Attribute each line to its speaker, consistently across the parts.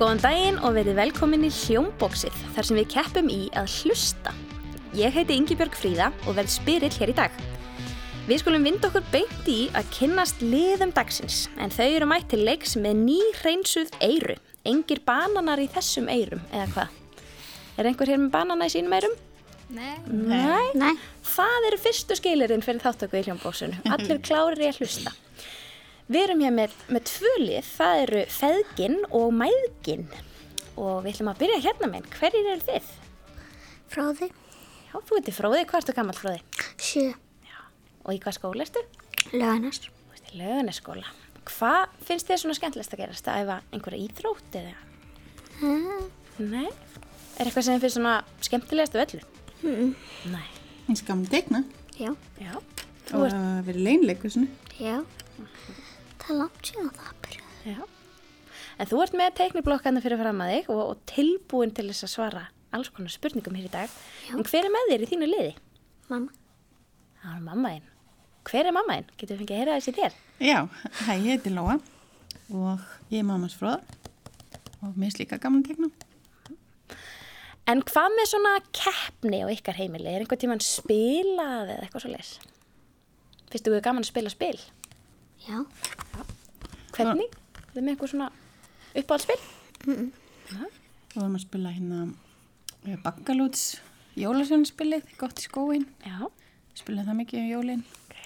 Speaker 1: Góðan daginn og verið velkomin í Hljómbóksið þar sem við keppum í að hlusta. Ég heiti Ingibjörg Fríða og verð spyrill hér í dag. Við skulum vinda okkur beint í að kynnast liðum dagsins en þau eru mætt til leiks með nýhreinsuð eyru. Engir bananar í þessum eyrum eða hvað? Er einhver hér með banana í sínum eyrum?
Speaker 2: Nei.
Speaker 1: Nei.
Speaker 3: Nei,
Speaker 1: Það eru fyrstu skilirinn fyrir þáttöku í hljómbóksinu. Allir klárir í að hlusta. Við erum hér með, með tvö lið, það eru feðgin og mæðgin og við ætlum að byrja hérna með, hverjir eru þið?
Speaker 3: fróði,
Speaker 1: Já, þú ert í fróði, hvað ertu gammal fróði?
Speaker 3: sjö,
Speaker 1: Og í hvað skóla ertu?
Speaker 3: lögarnas,
Speaker 1: Þú ert í lögunaskóla. Hvað finnst þér svona skemmtilegst að gerast? Að æfa einhverja íþrótt eða? Nei. Er eitthvað sem þér finnst svona skemmtilegast af öllu? Mm. Nei.
Speaker 4: Eins gaman að tegna
Speaker 3: já,
Speaker 1: Já. Þú
Speaker 4: og
Speaker 1: ert,
Speaker 4: að vera leinleikur svona.
Speaker 3: já, það er langt síðan það byrjaði.
Speaker 1: já. En þú ert með teikniblokkarna fyrir fram að þig og, og tilbúin til þess að svara alls konar spurningum hér í dag.
Speaker 3: Já.
Speaker 1: En hver er með þér í þínu liði?
Speaker 3: Mamma,
Speaker 1: Það var mamma þinn. Hver er mamma þinn? Getur við fengið að heyra þessi þér?
Speaker 4: Já, hæ, ég heiti Lóa og ég er mammas fróðar og mér er líka gaman að tegna.
Speaker 1: En hvað með svona keppni á ykkar heimili? Er einhvern tíman spilað eða eitthvað svo leis? Fyrstu þú er gaman að spila spil?
Speaker 3: já,
Speaker 1: Hvernig? Er það með eitthvað svona uppáhaldspil?
Speaker 4: Við vorum að spila hérna bakkalúts jólasjónspilið, gott í skóin.
Speaker 1: Já.
Speaker 4: Spila það mikið um jólin.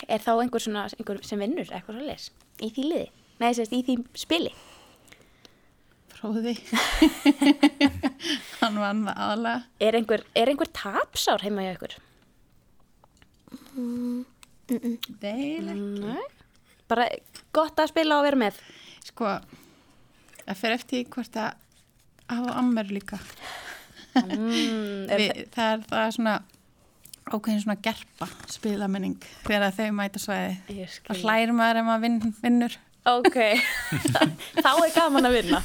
Speaker 1: Er þá einhver, svona, einhver sem vinnur eitthvað svo leis? Í því liði? Nei, sérst, í því spili?
Speaker 4: Fróði. Hann vann það aðalega.
Speaker 1: Er einhver, er einhver tapsár heima hjá ykkur?
Speaker 4: Deil.
Speaker 1: Nei. Bara gott að spila og vera með?
Speaker 4: Sko, það fer eftir því hvort að hafa ammer líka.
Speaker 1: Mm, er,
Speaker 4: Við, það, er, það er svona ákveðin svona gerpa spilamenning þegar að þau mæta svæði.
Speaker 1: Ég skil.
Speaker 4: Það hlægir maður ef maður vinn, vinnur.
Speaker 1: Ok, þá er gaman að vinna.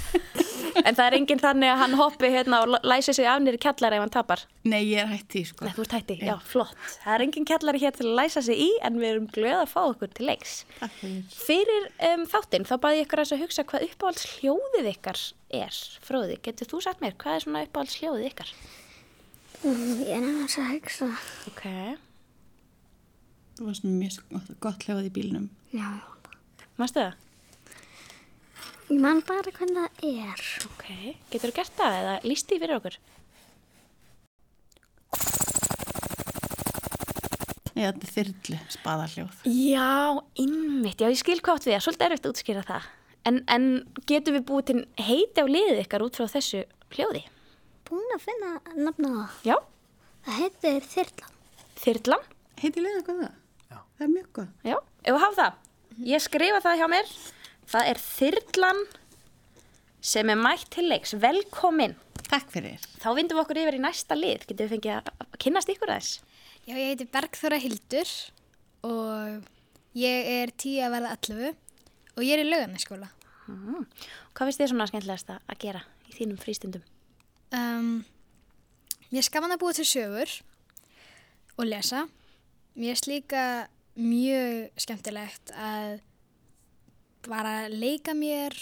Speaker 1: En það er enginn þannig að hann hoppi hérna og læsi sig af nýri kjallara ef hann tapar.
Speaker 4: Nei, ég er hætti, sko.
Speaker 1: Nei, þú ert hætti, já, flott. Það er enginn kjallari hér til að læsa sig í en við erum glöð að fá okkur til leiks.
Speaker 4: Takk fyrir.
Speaker 1: Fyrir um, þáttinn, þá baði ég ykkur aðeins að hugsa hvað uppáhalds hljóðið ykkar er. Fróði, getur þú sagt mér, hvað er svona uppáhalds hljóðið ykkar?
Speaker 3: Mm, ég er nefnast að hugsa,
Speaker 1: Ok,
Speaker 4: Það var svona mjög gott, gott hljóð í bílnum.
Speaker 3: já,
Speaker 1: mástu það?
Speaker 3: ég man bara hvernig það er.
Speaker 1: Ok, getur þú gert það eða líst því fyrir okkur?
Speaker 4: Já, þetta er þyrlu spaðarhljóð.
Speaker 1: Já, innmitt, já ég skil hvað átt við það, svolítið erfitt að útskýra það. En, en getum við búið til heiti á liðið ykkar út frá þessu hljóði?
Speaker 3: Búin að finna nafna á það.
Speaker 1: Já,
Speaker 3: Það heitir Þyrlan.
Speaker 1: þyrlan,
Speaker 4: Heiti leiða hvað það? Já. Það er mjög gott.
Speaker 1: já, ef við hafa það. Ég skrifa það hjá mér, það er þyrlan sem er mætt til leiks, velkomin.
Speaker 4: Takk fyrir.
Speaker 1: Þá vindum við okkur yfir í næsta lið, getum við fengið að- að kynnast ykkur aðeins.
Speaker 2: Já, ég heiti Bergþóra Hildur og ég er 10 að verða 11 og ég er í lögarnaskóla.
Speaker 1: Mm. Hvað finnst þér svona skemmtilegast að að gera í þínum frístundum?
Speaker 2: Um, mér er gaman að búa til sögur og lesa. Mér er líka mjög skemmtilegt að bara leika mér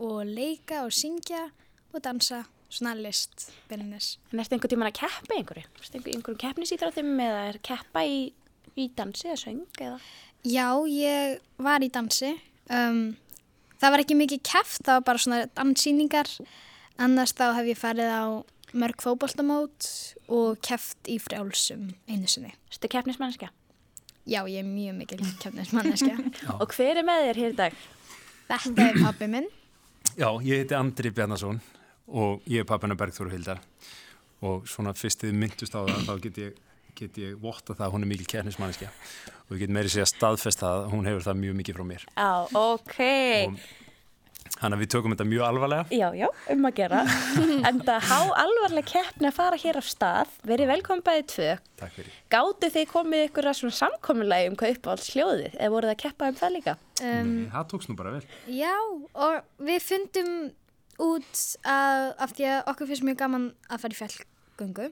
Speaker 2: og leika og syngja og dansa svona list byrjunis.
Speaker 1: En ertu einhvern tíman að keppa í einhverju? Ertu einhver, einhverjum keppnisýþróttum eða er keppa í, í dansi eða söng eða?
Speaker 2: Já, ég var í dansi. Um, það var ekki mikið keft, það var bara svona dansýningar. Annars þá hef ég farið á mörg fótboltamót og keft í frjálsum einu sinni.
Speaker 1: Ertu keppnismannskja?
Speaker 2: Já, ég er mjög mikil keftnismanneskja.
Speaker 1: Og hver er með þér hér í dag?
Speaker 2: Þetta er pabbi minn.
Speaker 5: Já, ég heiti Andri Bjarnason og ég er pappina Bergþóru Hildar og svona fyrst þið myndust á það þá get ég, get ég votta það að hún er mikil kærnismanniski og ég get meiri segja staðfest það að hún hefur það mjög mikið frá mér.
Speaker 1: Já, ok.
Speaker 5: Og- Þannig að við tökum þetta mjög alvarlega.
Speaker 1: Já, já, um að gera. en það há alvarleg keppni að fara hér af stað. Verið velkomin bæði tvö.
Speaker 5: Takk fyrir.
Speaker 1: Gátu þið komið ykkur að svona samkominlægi um hvað uppáhalds hljóðið? Eða voruð það að keppa um það líka?
Speaker 2: Um,
Speaker 5: Nei, Mm. það tókst nú bara vel.
Speaker 2: já, og við fundum út að, af því að okkur finnst mjög gaman að fara í fjallgöngu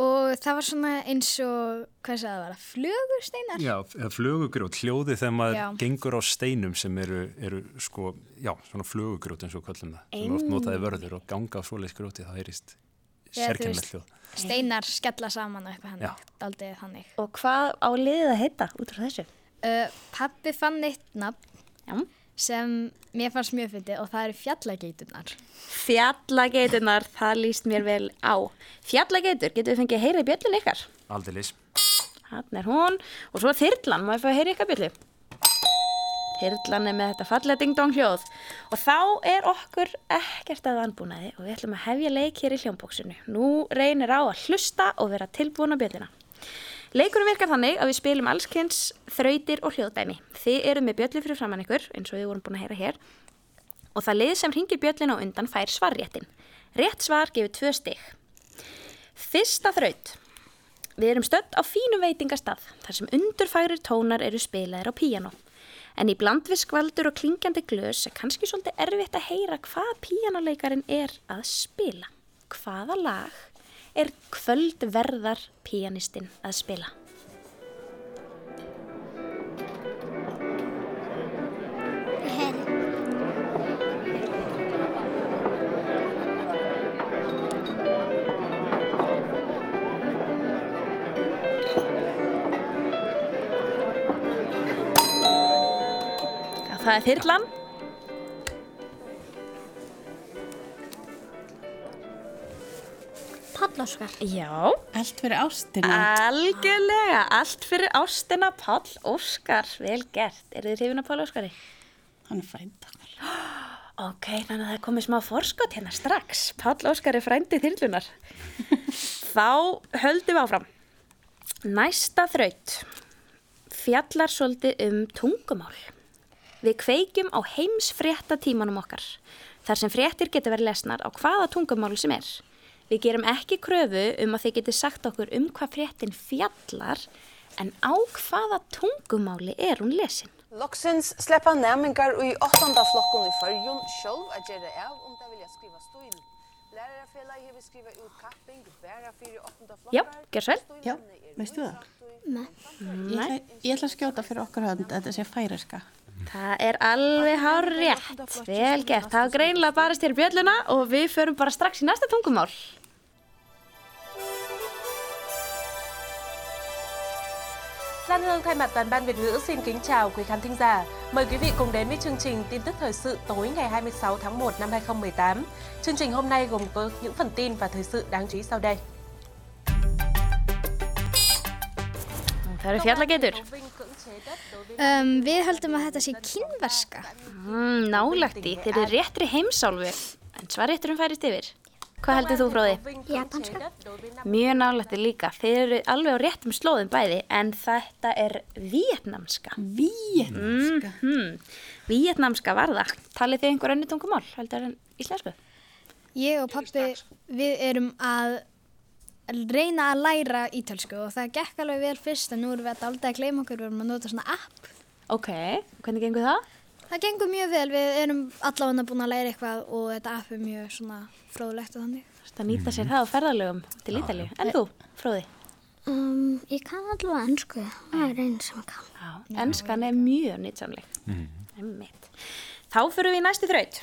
Speaker 2: og það var svona eins og, hvað sagði það var, flögursteinar?
Speaker 5: Já, eða flögugrjót, hljóði þegar maður
Speaker 2: Já.
Speaker 5: gengur á steinum sem eru, eru sko, já, svona flögugrjót eins og kvöllum það, sem oft notaði vörður og ganga á svoleiðs grjóti, það heyrist
Speaker 2: Já, þú veist.
Speaker 5: sérkennilegt hljóð.
Speaker 2: Steinar skella saman og eitthvað
Speaker 5: Já.
Speaker 2: hann, daldið þannig.
Speaker 1: Og hvað á liðið að heita út frá þessu?
Speaker 2: Uh, pappi fann eitt nafn
Speaker 1: Já.
Speaker 2: sem mér fannst mjög fyndið og það eru fjallageiturnar.
Speaker 1: Fjallageitunar, það líst mér vel á. Fjallageitur, getur við fengið að heyra í bjöllun ykkar?
Speaker 5: Aldeilis.
Speaker 1: Hann er hún. Og svo þyrlan, maður fæði að heyra ykkar bjöllu. Þyrlan er með þetta fallega ding-dong hljóð. Og þá er okkur ekkert að vanbúnaði og við ætlum að hefja leik hér í hljómbóksinu. Nú reynir á að hlusta og vera tilbúin á bjölluna. Leikunum virkar þannig að við spilum allskyns þrautir og hljóðdæmi. Þið eru með bjöllu fyrir framann ykkur, eins og við vorum búin að heyra hér, og það lið sem hringir bjöllin á undan fær svarréttin. Rétt svar gefur tvö stig. Fyrsta þraut. Við erum stödd á fínum veitingastað, þar sem undurfærir tónar eru spilaðir á píjanó. En í blandviskvaldur og klingjandi glös er kannski svolítið erfitt að heyra hvað píjanoleikarin er að spila. Hvaða lag er kvöldverðar píjanistinn að spila?
Speaker 3: Ég heyri.
Speaker 1: Já, það er þyrlan.
Speaker 3: Páll Óskar.
Speaker 1: Já.
Speaker 4: Allt fyrir ástina.
Speaker 1: Algjörlega, allt fyrir ástina Páll Óskar, vel gert. Eru þið hrifin af Páll Óskari? Ah.
Speaker 4: Hann er frænda.
Speaker 1: Ok, þannig að það er komið smá forskot hérna strax. Páll Óskar er frændið þyrlunar. Þá höldum við áfram. Næsta þraut fjallar svolítið um tungumál. Við kveikjum á heimsfrétta tímanum okkar, þar sem fréttir getur verið lesnar á hvaða tungumáli sem er. Við gerum ekki kröfu um að þið getur sagt okkur um hvað fréttin fjallar, en á hvaða tungumáli er hún lesin.
Speaker 6: Loksins sleppa næmingar í 8. flokkun í fyrjun sjálf að gera av om það vilja skriva stíl. Lærarfélagi hefur skrifa út kapping bara fyrir 8. flokkar.
Speaker 1: Já, gjör svo vel.
Speaker 4: Já, veistu það?
Speaker 3: Nei.
Speaker 4: Ég ætla, ég ætla að skjóta fyrir okkur hönd að þetta sé færiska.
Speaker 1: Það er alveg hár rétt. Vel gert. Það er greinlega barist hér bjölluna og við förum bara strax í næsta tungumál.
Speaker 7: Lan Hương thay mặt toàn ban Việt ngữ xin kính chào quý khán thính giả. Mời quý vị cùng đến với chương trình tin tức thời sự tối ngày 26 tháng 1 năm 2018. Chương trình hôm nay gồm có những phần tin và thời sự đáng chú ý sau đây.
Speaker 1: Það eru fjallagetur.
Speaker 2: Um, við höldum að þetta sé kynverska.
Speaker 1: Mm, nálægt í. Þeir eru réttri heimsálfu. En svarrétturum færist yfir. Hvað heldur þú fróði?
Speaker 3: Japanska.
Speaker 1: Mjög nálægt í líka. Þeir eru alveg á réttum slóðum bæði en þetta er vietnamska.
Speaker 4: Víetnamska.
Speaker 1: Hmm. Vietnamska var það. Talið þið einhver önni tungumál heldur en íslensku?
Speaker 2: Ég og pappi, við erum að reyna að læra ítölsku og það gekk alveg vel fyrst en nú erum við að dálta að gleyma okkur, við erum að nota svona app.
Speaker 1: Ok, hvernig gengur það?
Speaker 2: Það gengur mjög vel, við erum allavega búin að læra eitthvað og þetta app er mjög svona fróðlegt og þannig.
Speaker 1: Það nýta sér það á ferðalögum til Ítalíu. En þú, fróði?
Speaker 3: Um, ég kann allavega ennsku. Það er einn sem ég kann.
Speaker 1: Já, enskan er mjög nýtsamleg. Mm. Þá fyrir við í næstu þraut.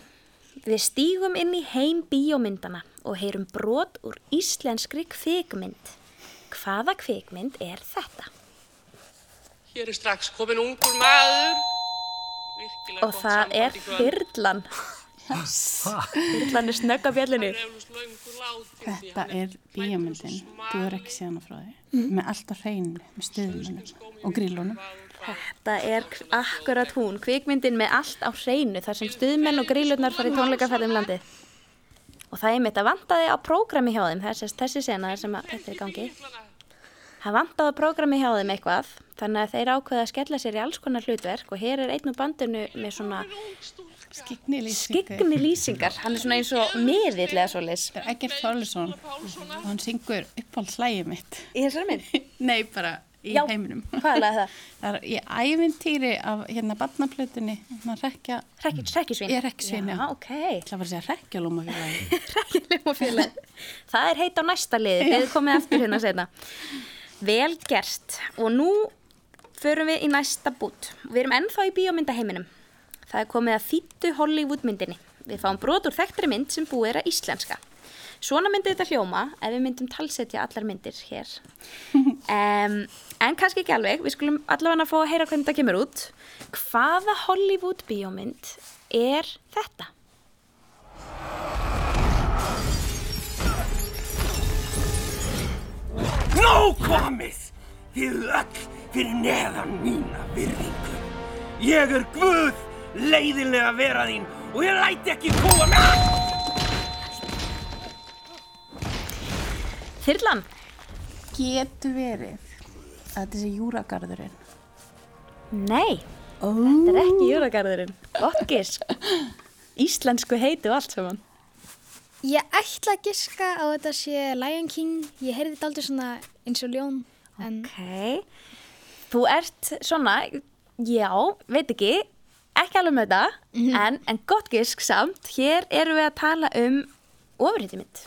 Speaker 1: Við stígum inn í heim bíómyndana og heyrum brot úr íslenskri kvikmynd. Hvaða kvikmynd er þetta?
Speaker 8: Hér er strax komin ungur maður. Virkilega
Speaker 1: Og það er Þyrlan. Þyrlan er snögg á bjallinu.
Speaker 4: Þetta er bíamöndin. Þú er ekki séðan á frá því. Með allt á hreinu, með stuðmunum og grílunum.
Speaker 1: Þetta er k- akkurat hún, kvikmyndin með allt á hreinu þar sem stuðmenn og grílurnar fara í tónleikaferð um landið. Og það er mitt að vantaði á prógrami hjá þeim, þessi, þessi sena þar sem að þetta er í gangi. Það vantaði á prógrami hjá þeim eitthvað, þannig að þeir ákveða að skella sér í alls konar hlutverk og hér er einn úr bandinu með svona
Speaker 4: Skikni lýsingu.
Speaker 1: skyggni lýsingar, hann er svona eins og miðill eða svoleiðis.
Speaker 4: Þetta er Egert Þorlesson og hann syngur uppáhaldslægið mitt.
Speaker 1: Í þessari mynd?
Speaker 4: Nei, bara í
Speaker 1: Já.
Speaker 4: heiminum.
Speaker 1: Hvað er það?
Speaker 4: Það er í ævintýri af hérna barnaplutinni, hérna rekja,
Speaker 1: Rekki, rekkjusvín?
Speaker 4: Ég er rekkjusvín, já.
Speaker 1: Já, ok.
Speaker 4: ég ætla að fara að segja rekjalóma félagi.
Speaker 1: Hljómafélag. það er heit á næsta liði, eða komið aftur hérna sérna. Vel gert. Og nú förum við í næsta bút. Við erum ennþá í bíómyndaheiminum. Það er komið að þýttu Hollywoodmyndinni. Við fáum brot úr þekktri mynd sem búið er að íslenska. Svona myndi þetta hljóma ef við myndum talsetja allar myndir hér. Um, en kannski ekki alveg, við skulum allavega að fá að heyra hvernig þetta kemur út. Hvaða Hollywood bíómynd er þetta?
Speaker 9: Nó komið! Þið eruð öll fyrir neðan mína virðingu. Ég er Guð, leiðilega vera þín og ég læti ekki kúa með það!
Speaker 1: Þyrlan,
Speaker 4: Getur verið að þetta sé júragarðurinn.
Speaker 1: Nei,
Speaker 4: Oh.
Speaker 1: þetta er ekki Jóragarðurinn. Gott gisk. Íslensku heiti og allt saman.
Speaker 2: Ég ætla að giska á þetta sé Lion King. Ég heyrði þetta aldrei svona eins og ljón. En
Speaker 1: Ok. Þú ert svona, já, veit ekki, ekki alveg með þetta, en, en gott gisk samt. Hér erum við að tala um ofriðmynd.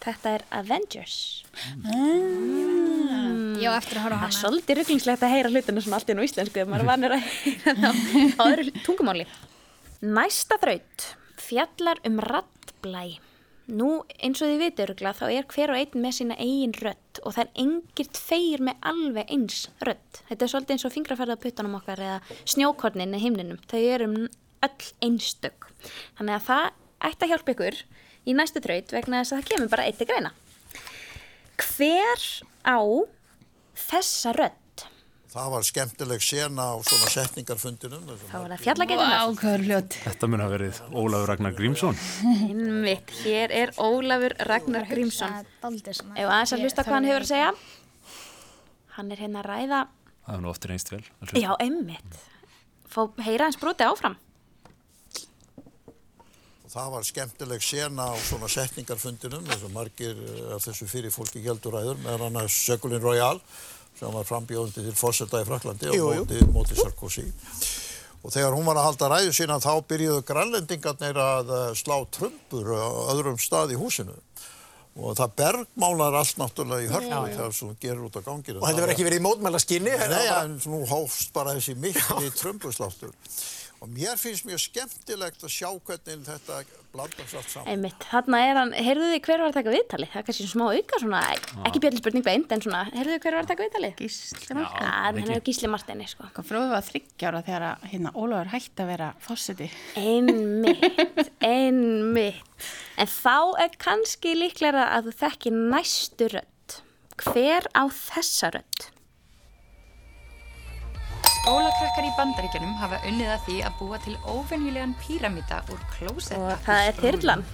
Speaker 1: Þetta er Avengers.
Speaker 2: ég á eftir að
Speaker 1: Það er
Speaker 2: horfa á hana.
Speaker 1: svolítið rugglingslegt að heyra hlutinu sem allt er nú íslensku ef maður er vanur að heyra það á öðru tungumáli. Næsta þraut fjallar um rattblæ. Nú eins og þið vitur rugla þá er hver og einn með sína eigin rödd og það er engir tveir með alveg eins rödd. Þetta er svolítið eins og fingrafærða puttanum okkar eða snjókornin í himninum. Þau eru um öll einstök. Þannig að það ætti að hjálpa ykkur í næstu þraut vegna þess að það kemur bara eitt til greina. Hver á þessa rödd
Speaker 10: Það var skemmtileg sena á svona setningarfundinum.
Speaker 1: þá
Speaker 10: þessum-
Speaker 1: er það fjallagætunar
Speaker 4: Ákvæður hljótt.
Speaker 5: Þetta mun hafa verið Ólafur Ragnar Grímsson.
Speaker 1: einmitt, hér er Ólafur Ragnar Grímsson
Speaker 2: Aldrei svona.
Speaker 1: ef aðeins að hlusta hvað hann hefur að segja hann er hérna að ræða
Speaker 5: Það er nú oftir einst vel. að hlusta.
Speaker 1: já, einmitt fá heyra hans brotið áfram
Speaker 10: Það var skemmtileg sena á svona setningarfundinum þess að margir eh, af þessu fyrir fólki gældur ræður meðan hann að Sökulin Royal sem var frambjóðandi til fórseta í Fraklandi og móti, móti Sarkozy. Og þegar hún var að halda ræðu sína þá byrjuðu grænlendingarnir að eh, slá trumbur á öðrum stað í húsinu. Og það bergmálar allt náttúrulega í hörku þegar svo hún gerir út á ganginu.
Speaker 11: Og þetta verður ekki verið í mótmæla skinni.
Speaker 10: Nei, en nú hófst bara þessi mikli trömbusláttur. Og mér finnst mjög skemmtilegt að sjá hvernig þetta blandast allt saman.
Speaker 1: einmitt, þarna er hann, heyrðu þið hver var að taka viðtali það er kannski smá auka svona, ekki björnli spurning beint en svona, heyrðu þið hver var að taka viðtali
Speaker 4: Gísla.
Speaker 1: Já, en hann er Gísli Martini sko.
Speaker 4: Fróðið var þryggja ára þegar að, hérna Ólafur hætti að vera fórseti.
Speaker 1: einmitt, einmitt en þá er kannski líklega að þú þekkir næstu rödd hver á þessa rödd
Speaker 12: Skólakrakkar í bandaríkjunum hafa unnið að því að búa til óvenjulegan píramíta úr klósetta.
Speaker 1: og það er þyrlan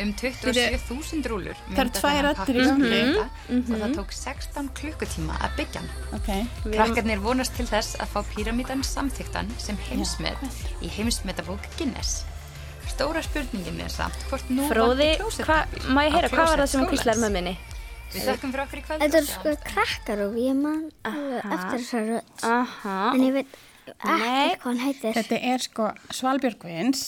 Speaker 12: Um 27.000 rúlur
Speaker 4: Það eru tvær raddir í gangi.
Speaker 1: Mm-hmm.
Speaker 12: píramíta og það tók 16 klukkutíma að byggja hann.
Speaker 4: Ok.
Speaker 12: Krakkarnir vonast til þess að fá píramítan samþyktan sem heimsmet í heimsmetabók Guinness. Stóra spurningin er samt hvort nú
Speaker 1: Fróði,
Speaker 12: vanti klósett-
Speaker 1: hva, má ég heyra,
Speaker 12: á
Speaker 1: hvað var það
Speaker 12: klósett
Speaker 1: sem hún kvíslaði
Speaker 12: skólans.
Speaker 1: með minni?
Speaker 12: Við þökkum fyrir okkur í kveld.
Speaker 3: Þetta er sko krakkar og ég man alveg eftir þessa rödd.
Speaker 1: Aha,
Speaker 3: En ég veit
Speaker 1: Ah. Nei.
Speaker 3: ekkert hvað hann heitir.
Speaker 4: Þetta er sko Svalbjörgvins,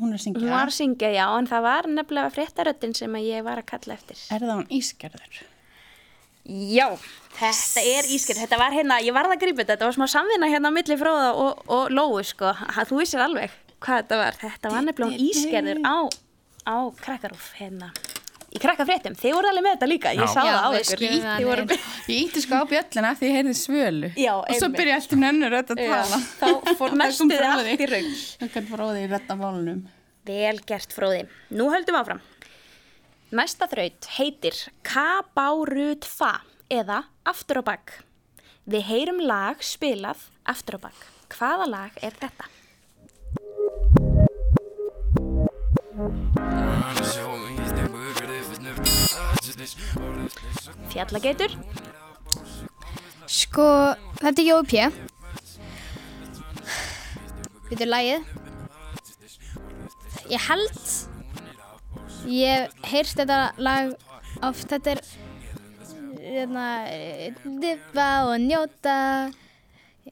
Speaker 4: hún er
Speaker 1: hún
Speaker 4: að syngja.
Speaker 1: var að syngja, já, en það var nefnilega fréttaröddin sem að ég var að kalla eftir.
Speaker 4: Er það hún Ísgerður?
Speaker 1: Já, þetta er ískir, þetta var hérna, ég varð að grípa þetta, þetta var smá samvinna hérna á milli fróða og, og lóu, sko, ha, þú vissir alveg hvað þetta var. Þetta var nefnilega hún ískerður á, á krakkarúf, hérna, í krakkafréttum, þið voru alveg með þetta líka, ég
Speaker 5: Já.
Speaker 1: sá
Speaker 2: Já,
Speaker 1: það á
Speaker 2: við
Speaker 1: ykkur.
Speaker 2: skiljum það
Speaker 1: Þið voru-
Speaker 4: Ég ítti sko á bjöllina því ég heyrði svölu
Speaker 1: Já,
Speaker 4: og svo
Speaker 1: einmitt.
Speaker 4: byrja allt um önnur rödd að
Speaker 1: Já,
Speaker 4: tala.
Speaker 1: Þá fór
Speaker 4: Það kom
Speaker 1: næstuði
Speaker 4: fróði.
Speaker 1: allt í raun.
Speaker 4: Það kann fróði í rödd af málunum.
Speaker 1: Vel gert fróði. Nú höldum áfram. Næsta þraut heitir Kabárutfa eða Aftur á bakk. Við heyrum lag spilað Aftur á bakk. Hvaða lag er þetta? Fjallageitur?
Speaker 2: Sko, þetta er Jói P. Þetta er lagið. Ég held, ég hef heyrt þetta lag oft, þetta er, hérna, dippa og njóta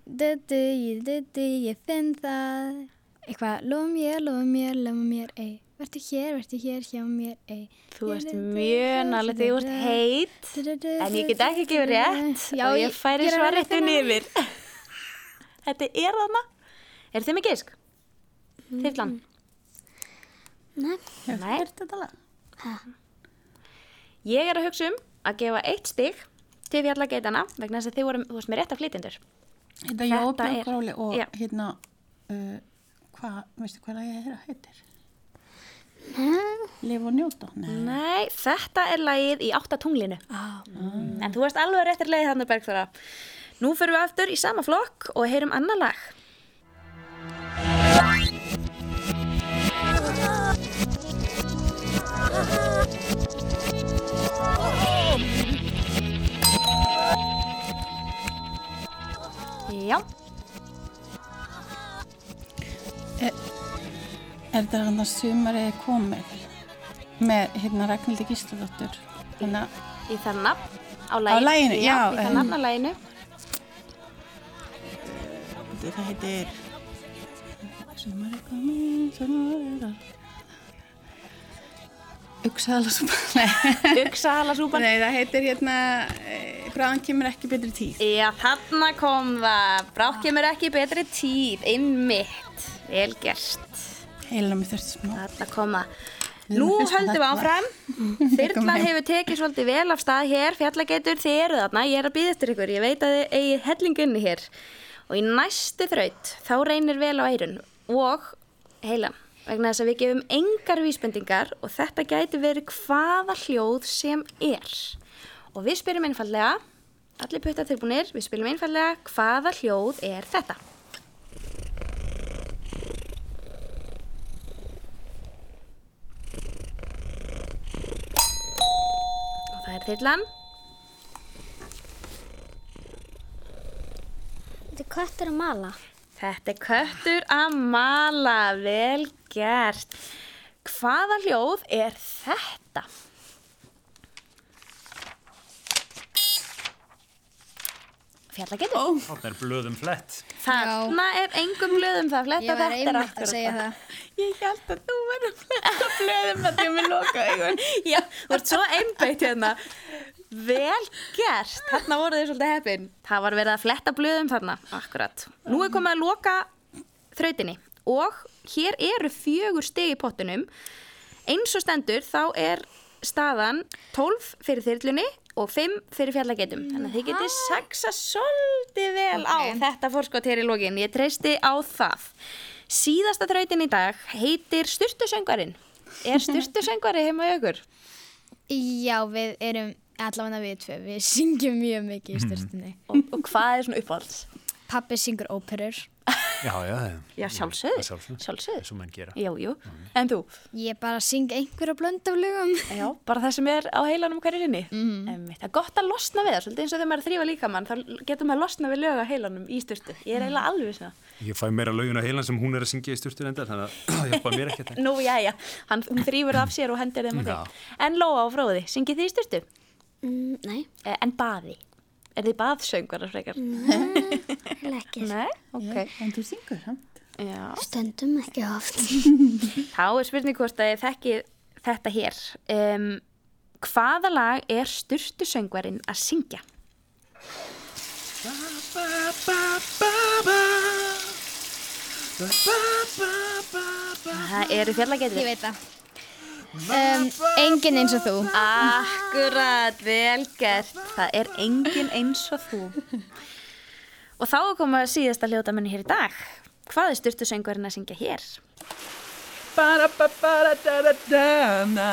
Speaker 2: Dudu, ég, dudu, ég finn það Eitthvað, lofa mér, lofa mér, lofa mér, ei Vertu hér, vertu hér, hjá mér, ei
Speaker 1: Þú ert mjög nálega því þú ert heit en ég get ekki gefið rétt
Speaker 2: Já,
Speaker 1: og ég
Speaker 2: ég-
Speaker 1: færi
Speaker 2: ég er að reyna
Speaker 1: svarréttun
Speaker 2: að-
Speaker 1: yfir. Þetta er þarna. Er þið með gisk? Þiflan?
Speaker 3: Nei.
Speaker 1: Hefur þú hert þetta lag? Ég er að hugsa um að gefa eitt stig til við alla geitana vegna þess að þið vorum, þú varst með rétt að flytjendur.
Speaker 4: Þetta ég og
Speaker 1: er-
Speaker 4: Björn Róli og
Speaker 1: Já.
Speaker 4: hérna, uh, hvað, veistu hvað lagið þeirra heitir? Liv og njóta? Nei.
Speaker 1: Nei, þetta er lagið í átta tunglinu. Mm,
Speaker 2: Ah.
Speaker 1: En þú varst alveg réttir leið þannig Bergþóra. Nú fyrir við aftur í sama flokk og heyrum annan lag. Já.
Speaker 4: Er þetta hann að sumarið er komið með hérna Ragnhildi Gísladóttur? Þannig að
Speaker 1: Í þar nafn á laginu.
Speaker 4: laginu, já,
Speaker 1: Í þar
Speaker 4: em.
Speaker 1: nafn á laginu.
Speaker 4: Bíddu, það heitir Sumarið er komið, sumarið er Uxaðalasúpan Nei,
Speaker 1: Uxaðalasúpan
Speaker 4: Nei, það heitir hérna eh, Bráðan kemur ekki betri tíð
Speaker 1: Já, þarna kom það. Brátt kemur ekki betri tíð, einmitt. Vel gert.
Speaker 4: Heila mig þurfti smá
Speaker 1: Þarna kom það.
Speaker 4: Við
Speaker 1: Nú
Speaker 4: erum fyrst að
Speaker 1: höldum við
Speaker 4: þarna.
Speaker 1: áfram. Þyrlan hefur tekið svolítið vel af stað hér, fjallageitur, þið eru þarna, ég er að býða eftir ykkur, ég veit að þið eigi hellingunni hér. Og í næstu þraut, þá reynir vel á eirun og heila, vegna þess að við gefum engar vísbendingar og þetta gæti verið hvaða hljóð sem er. Og við spyrjum einfallega, allir puttar tilbúinir, við spyrjum einfallega hvaða hljóð er þetta. Og það er þyrlan.
Speaker 3: Þetta er köttur að mala.
Speaker 1: Þetta er köttur að mala, vel gert. Hvaða hljóð er þetta? Fjallagetur. Oh.
Speaker 11: Þarna er blöðum flett.
Speaker 1: Þarna er engum blöðum það að fletta,
Speaker 2: Ég var
Speaker 1: þetta er
Speaker 2: einmitt að
Speaker 1: akkurat
Speaker 2: segja
Speaker 1: það. Ég held að þú verður að fletta blöðum að því að mér loka augun. Já, þú ert svo einbeitt hérna. Vel gert, þarna voru þið svolítið heppin. Það var verið að fletta blöðum þarna, akkurat. Nú er komið að loka þrautinni og hér eru fjögur stig í pottunum. Eins og stendur þá er staðan 12 fyrir þyrlunni og 5 fyrir fjallagetum. Þannig að þið getið saxa svolítið vel á þetta fórskot hér í lokin. Ég treysti á það. Síðasta þrautin í dag heitir Sturtusöngvarinn. Er Sturtusöngvari heima í aukur?
Speaker 2: Já, við erum allavega við tvö, við syngjum mjög mikið í styrtunni.
Speaker 1: Og, og hvað er svona uppáhalds?
Speaker 2: Pappi syngur óperur.
Speaker 5: Já, já, já.
Speaker 1: Já, sjálfsögðu.
Speaker 5: Sjálfsögðu.
Speaker 1: Sjálfsögðu.
Speaker 5: Svo menn gera. Mhm.
Speaker 1: Jú, jú. En þú?
Speaker 2: Ég bara syng einhverja blönd af lögum.
Speaker 1: Já, bara það sem er á heilanum hverju sinni. Mm. Það er gott að losna við það, svolítið eins og þegar maður er að þrýfa líkamann, þá getur maður að losna við lög á heilanum í styrtu. Ég er eiginlega alveg svona.
Speaker 5: Ég fæ meira lögin á heilan sem hún er að syngja í styrtur endar, þannig að það hjálpa mér ekkert.
Speaker 1: Nú, já, já, hann, hún þrýfur af sér og hendir þeim á
Speaker 5: Já.
Speaker 1: þig. En Lóa og Fróði, syngið þið í styrtu?
Speaker 3: Mm, nei.
Speaker 1: Eh, En baði? Er þið baðsöngvarar frekar?
Speaker 3: Heila ekki.
Speaker 1: Nei, ok.
Speaker 4: Mm. En þú syngur samt.
Speaker 1: Já.
Speaker 3: Stöndum ekki oft.
Speaker 1: Þá er spurning hvort að ég þekki þetta hér. Um, hvaða lag er styrtu söngvarinn að syngja? Það eru fjallagetur.
Speaker 2: Ég veit það. Um, engin eins og þú.
Speaker 1: Akkurat, vel gert. Það er engin eins og þú. Og þá er komið að síðasta hljótamenni hér í dag. Hvað er styrtusöngurinn að syngja hér?
Speaker 13: Bara, bara, bara, da, da, da, na.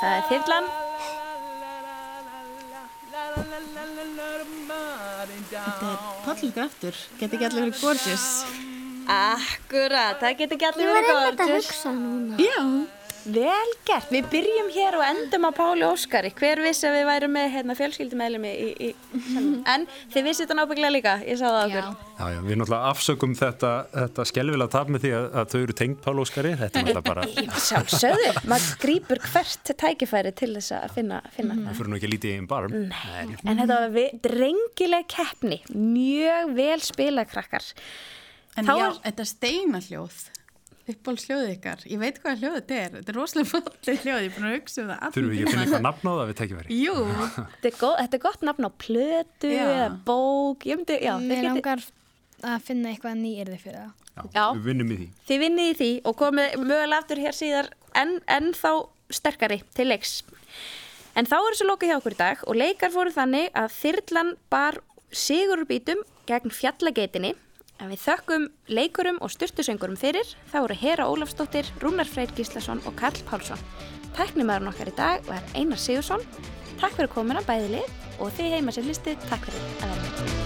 Speaker 1: Það er Þyrlan.
Speaker 4: Þetta er pallur aftur. Geti ekki allir verið gorgeous.
Speaker 1: Akkurat, það getur ekki allir
Speaker 3: Ég var
Speaker 1: verið
Speaker 3: einmitt að um
Speaker 1: gorgeous.
Speaker 3: hugsa núna.
Speaker 4: Já.
Speaker 1: Vel gert, við byrjum hér og endum á Páli Óskari. Hver vissi að við værum með hérna, fjölskyldumeðlumi í, í salnum? En þið vissið þetta nábygglega líka, ég sá það á okkur.
Speaker 5: Já, já, við náttúrulega afsökum þetta, þetta skelvilega tap með því að, að þau eru tengd Pála Óskari. Þetta er náttúrulega bara,
Speaker 1: Ég Sjálfsögðu, maður grýpur hvert tækifæri til þess að finna, finna
Speaker 5: það fyrir nú ekki lítið í einn barm.
Speaker 1: Nei. það. En þetta var vi- drengileg keppni, mjög vel spila krakkar.
Speaker 4: En
Speaker 1: Þá
Speaker 4: já,
Speaker 1: er-
Speaker 4: þetta er steinarhljóð, uppbólsljóð ykkar. Ég veit hvað hljóð þetta er, þetta er rosalega fallið hljóð, ég er búin að hugsa um það. allan
Speaker 5: Þurfum við ekki að finna
Speaker 4: tímann.
Speaker 5: eitthvað nafn á það við tekjum verið.
Speaker 4: Jú,
Speaker 1: þetta er, góð, þetta er gott nafn á plötu
Speaker 2: Já.
Speaker 1: eða bók, ég myndi, já,
Speaker 2: Mér
Speaker 1: þið getið-
Speaker 2: langar að finna eitthvað nýyrði fyrir það.
Speaker 1: Já.
Speaker 5: Við vinnum í því.
Speaker 1: Þið vinnið í því og komið mögulega aftur hér síðar en, en þá sterkari til leiks. En þá er þessu lokið hjá okkur í dag og leikar fóru þannig að þyrlan bar sigurbítum gegn fjallageitinni. En við þökkum leikurum og styrtusöngurum fyrir. Þá eru Hera Ólafsdóttir, Rúnar Freyr Gíslason og Karl Pálsson. Tæknumæðurinn okkar í dag var Einar Sigursson. Takk fyrir komuna bæði lið og þið heima sér listið. Takk fyrir að vera með.